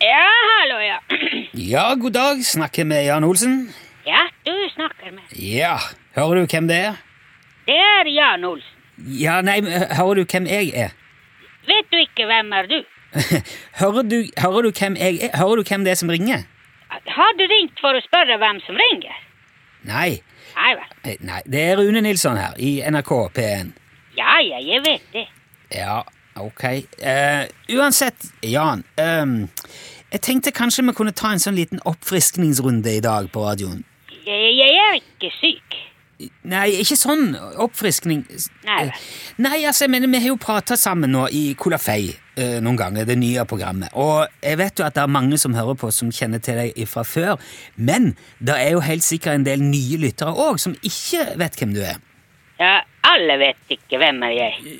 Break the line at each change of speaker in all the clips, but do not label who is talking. Ja, hallo, ja.
Ja, god dag. Snakker med Jan Olsen?
Ja, du snakker med
Ja. Hører du hvem det er?
Det er Jan Olsen.
Ja, nei, men, hø- hører du hvem jeg er?
Vet du ikke hvem er du?
Hører du, hører du hvem jeg er? Hører du hvem det er som ringer?
Har du ringt for å spørre hvem som ringer?
Nei.
Nei vel.
Eh, Nei, det er Rune Nilsson her i NRK P1.
Ja, ja, jeg vet det.
Ja, ok. Eh, uansett, Jan. ehm, jeg tenkte kanskje vi kunne ta en sånn liten oppfriskningsrunde i dag på radioen.
Jeg, jeg er ikke syk.
Nei, ikke sånn oppfriskning.
Nei vel.
Eh, Nei, altså, jeg mener, vi har jo prata sammen nå i Kolafei eh, noen ganger, det nye programmet. Og jeg vet jo at det er mange som hører på, som kjenner til deg fra før. Men det er jo helt sikkert en del nye lyttere òg, som ikke vet hvem du er.
Ja, alle vet ikke hvem er jeg.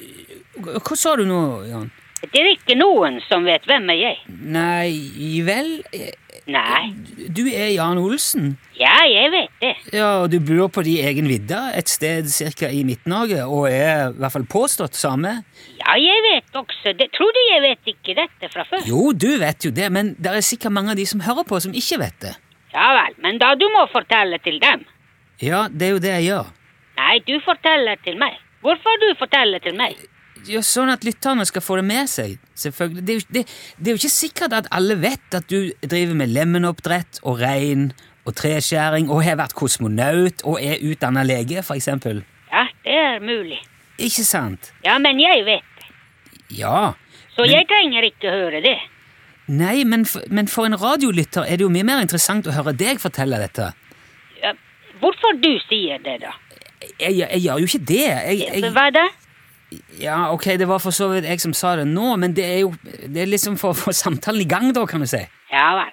Hva hva sa du nå, Jan?
Det er ikke noen som vet hvem er jeg.
Nei vel eh,
Nei.
Du er Jan Olsen.
Ja, jeg vet det.
Ja, og du bor på din egen vidde, et sted cirka i Midt-Norge, og er i hvert fall påstått same.
Ja, jeg vet også det. Tror du jeg vet ikke dette fra før?
Jo, du vet jo det, men det er sikkert mange av de som hører på, som ikke vet det.
Ja vel, men da du må fortelle til dem.
Ja, det er jo det jeg gjør.
Nei, du forteller til meg. Hvorfor du forteller til meg?
Ja, sånn at lytterne skal få det med seg, selvfølgelig. Det er, jo, det, det er jo ikke sikkert at alle vet at du driver med lemenoppdrett og rein og treskjæring og har vært kosmonaut og er utdanna lege, for eksempel.
Ja, det er mulig.
Ikke sant?
Ja, men jeg vet det.
Ja.
Så jeg trenger ikke høre det.
Nei, men for, men for en radiolytter er det jo mye mer interessant å høre deg fortelle dette.
Ja, hvorfor du sier det, da?
Jeg, jeg, jeg gjør jo ikke det. Jeg, jeg,
Hva da?
ja, ok, det var for så vidt jeg som sa det nå, men det er jo det er liksom for å få samtalen i gang, da, kan du si.
Ja vel.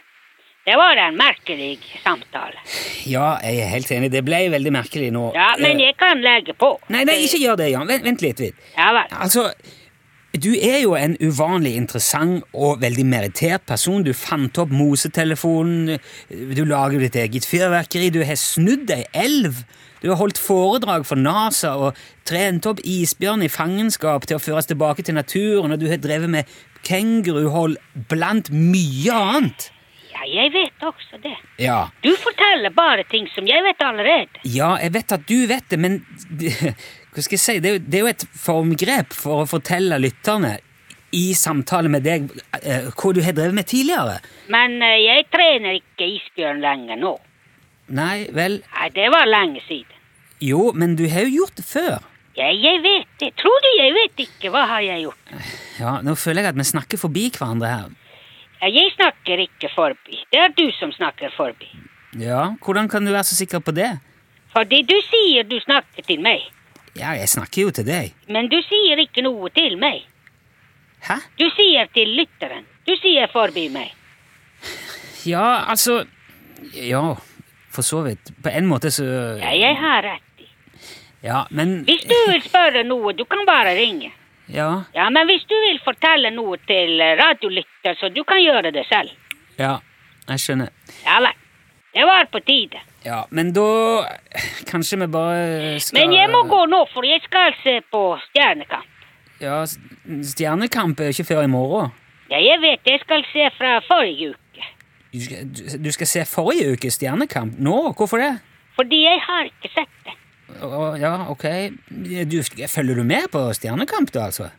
Det var en merkelig samtale.
Ja, jeg er helt enig. Det ble veldig merkelig nå.
Ja, men
Eh,
jeg kan legge på.
Nei, nei, ikke gjør det, Jan. Vent, vent litt. Vidt.
Ja vel.
Altså, du er jo en uvanlig interessant og veldig merittert person. Du fant opp mosetelefonen, du lager ditt eget fyrverkeri, du har snudd ei elv. Du har holdt foredrag for NASA og trent opp isbjørn i fangenskap til å føres tilbake til naturen, og du har drevet med kenguruhold blant mye annet.
Ja, jeg vet også det.
Ja.
Du forteller bare ting som jeg vet allerede.
Ja, jeg vet at du vet det, men hva skal jeg si? Det er, jo, det er jo et formgrep for å fortelle lytterne i samtale med deg eh, hva du har drevet med tidligere.
Men eh, jeg trener ikke isbjørn lenger nå.
Nei, vel
Nei, det var lenge siden.
Jo, men du har jo gjort det før.
Ja, jeg vet det. Tror du jeg vet ikke hva har jeg gjort?
Ja, Nå føler jeg at vi snakker forbi hverandre her.
Ja, jeg snakker ikke forbi. Det er du som snakker forbi.
Ja, Hvordan kan du være så sikker på det?
Fordi du sier du snakker til meg,
Ja, jeg snakker jo til deg.
men du sier ikke noe til meg.
Hæ?
Du sier til lytteren. Du sier forbi meg.
Ja, altså Ja, for så vidt. På en måte så
Ja, jeg har rett i.
Ja, men
Hvis du vil spørre noe, du kan bare ringe.
Ja,
Ja, men hvis du vil fortelle noe til eh, radiolytter, så du kan gjøre det selv.
ja. Jeg skjønner.
Ja vel. Det var på tide.
Ja, men da Kanskje vi bare skal
Men jeg må gå nå, for jeg skal se på Stjernekamp.
Ja, s- Stjernekamp er jo ikke før i morgen.
Ja, jeg vet, jeg skal se fra forrige uke.
Du skal, du- du skal se forrige ukes Stjernekamp nå? Hvorfor det?
Fordi jeg har ikke sett det.
Å, ja, ok. Du, følger du med på Stjernekamp, da, altså?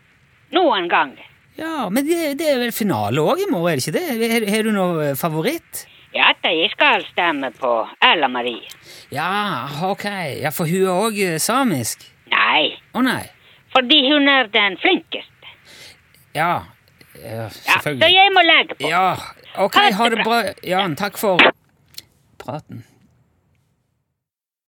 Noen ganger.
Ja, men det, det er vel finale òg i morgen, er det ikke det? Har, har du noen favoritt?
Ja, da, jeg skal stemme på Erla Marie.
Ja, ok. Ja, For hun er òg samisk?
Nei,
Å nei.
fordi hun er den flinkeste.
Ja. ja
Ja, så
selvfølgelig.
jeg må legge på.
Ja, ok. Ha det bra, Jan. Takk for praten.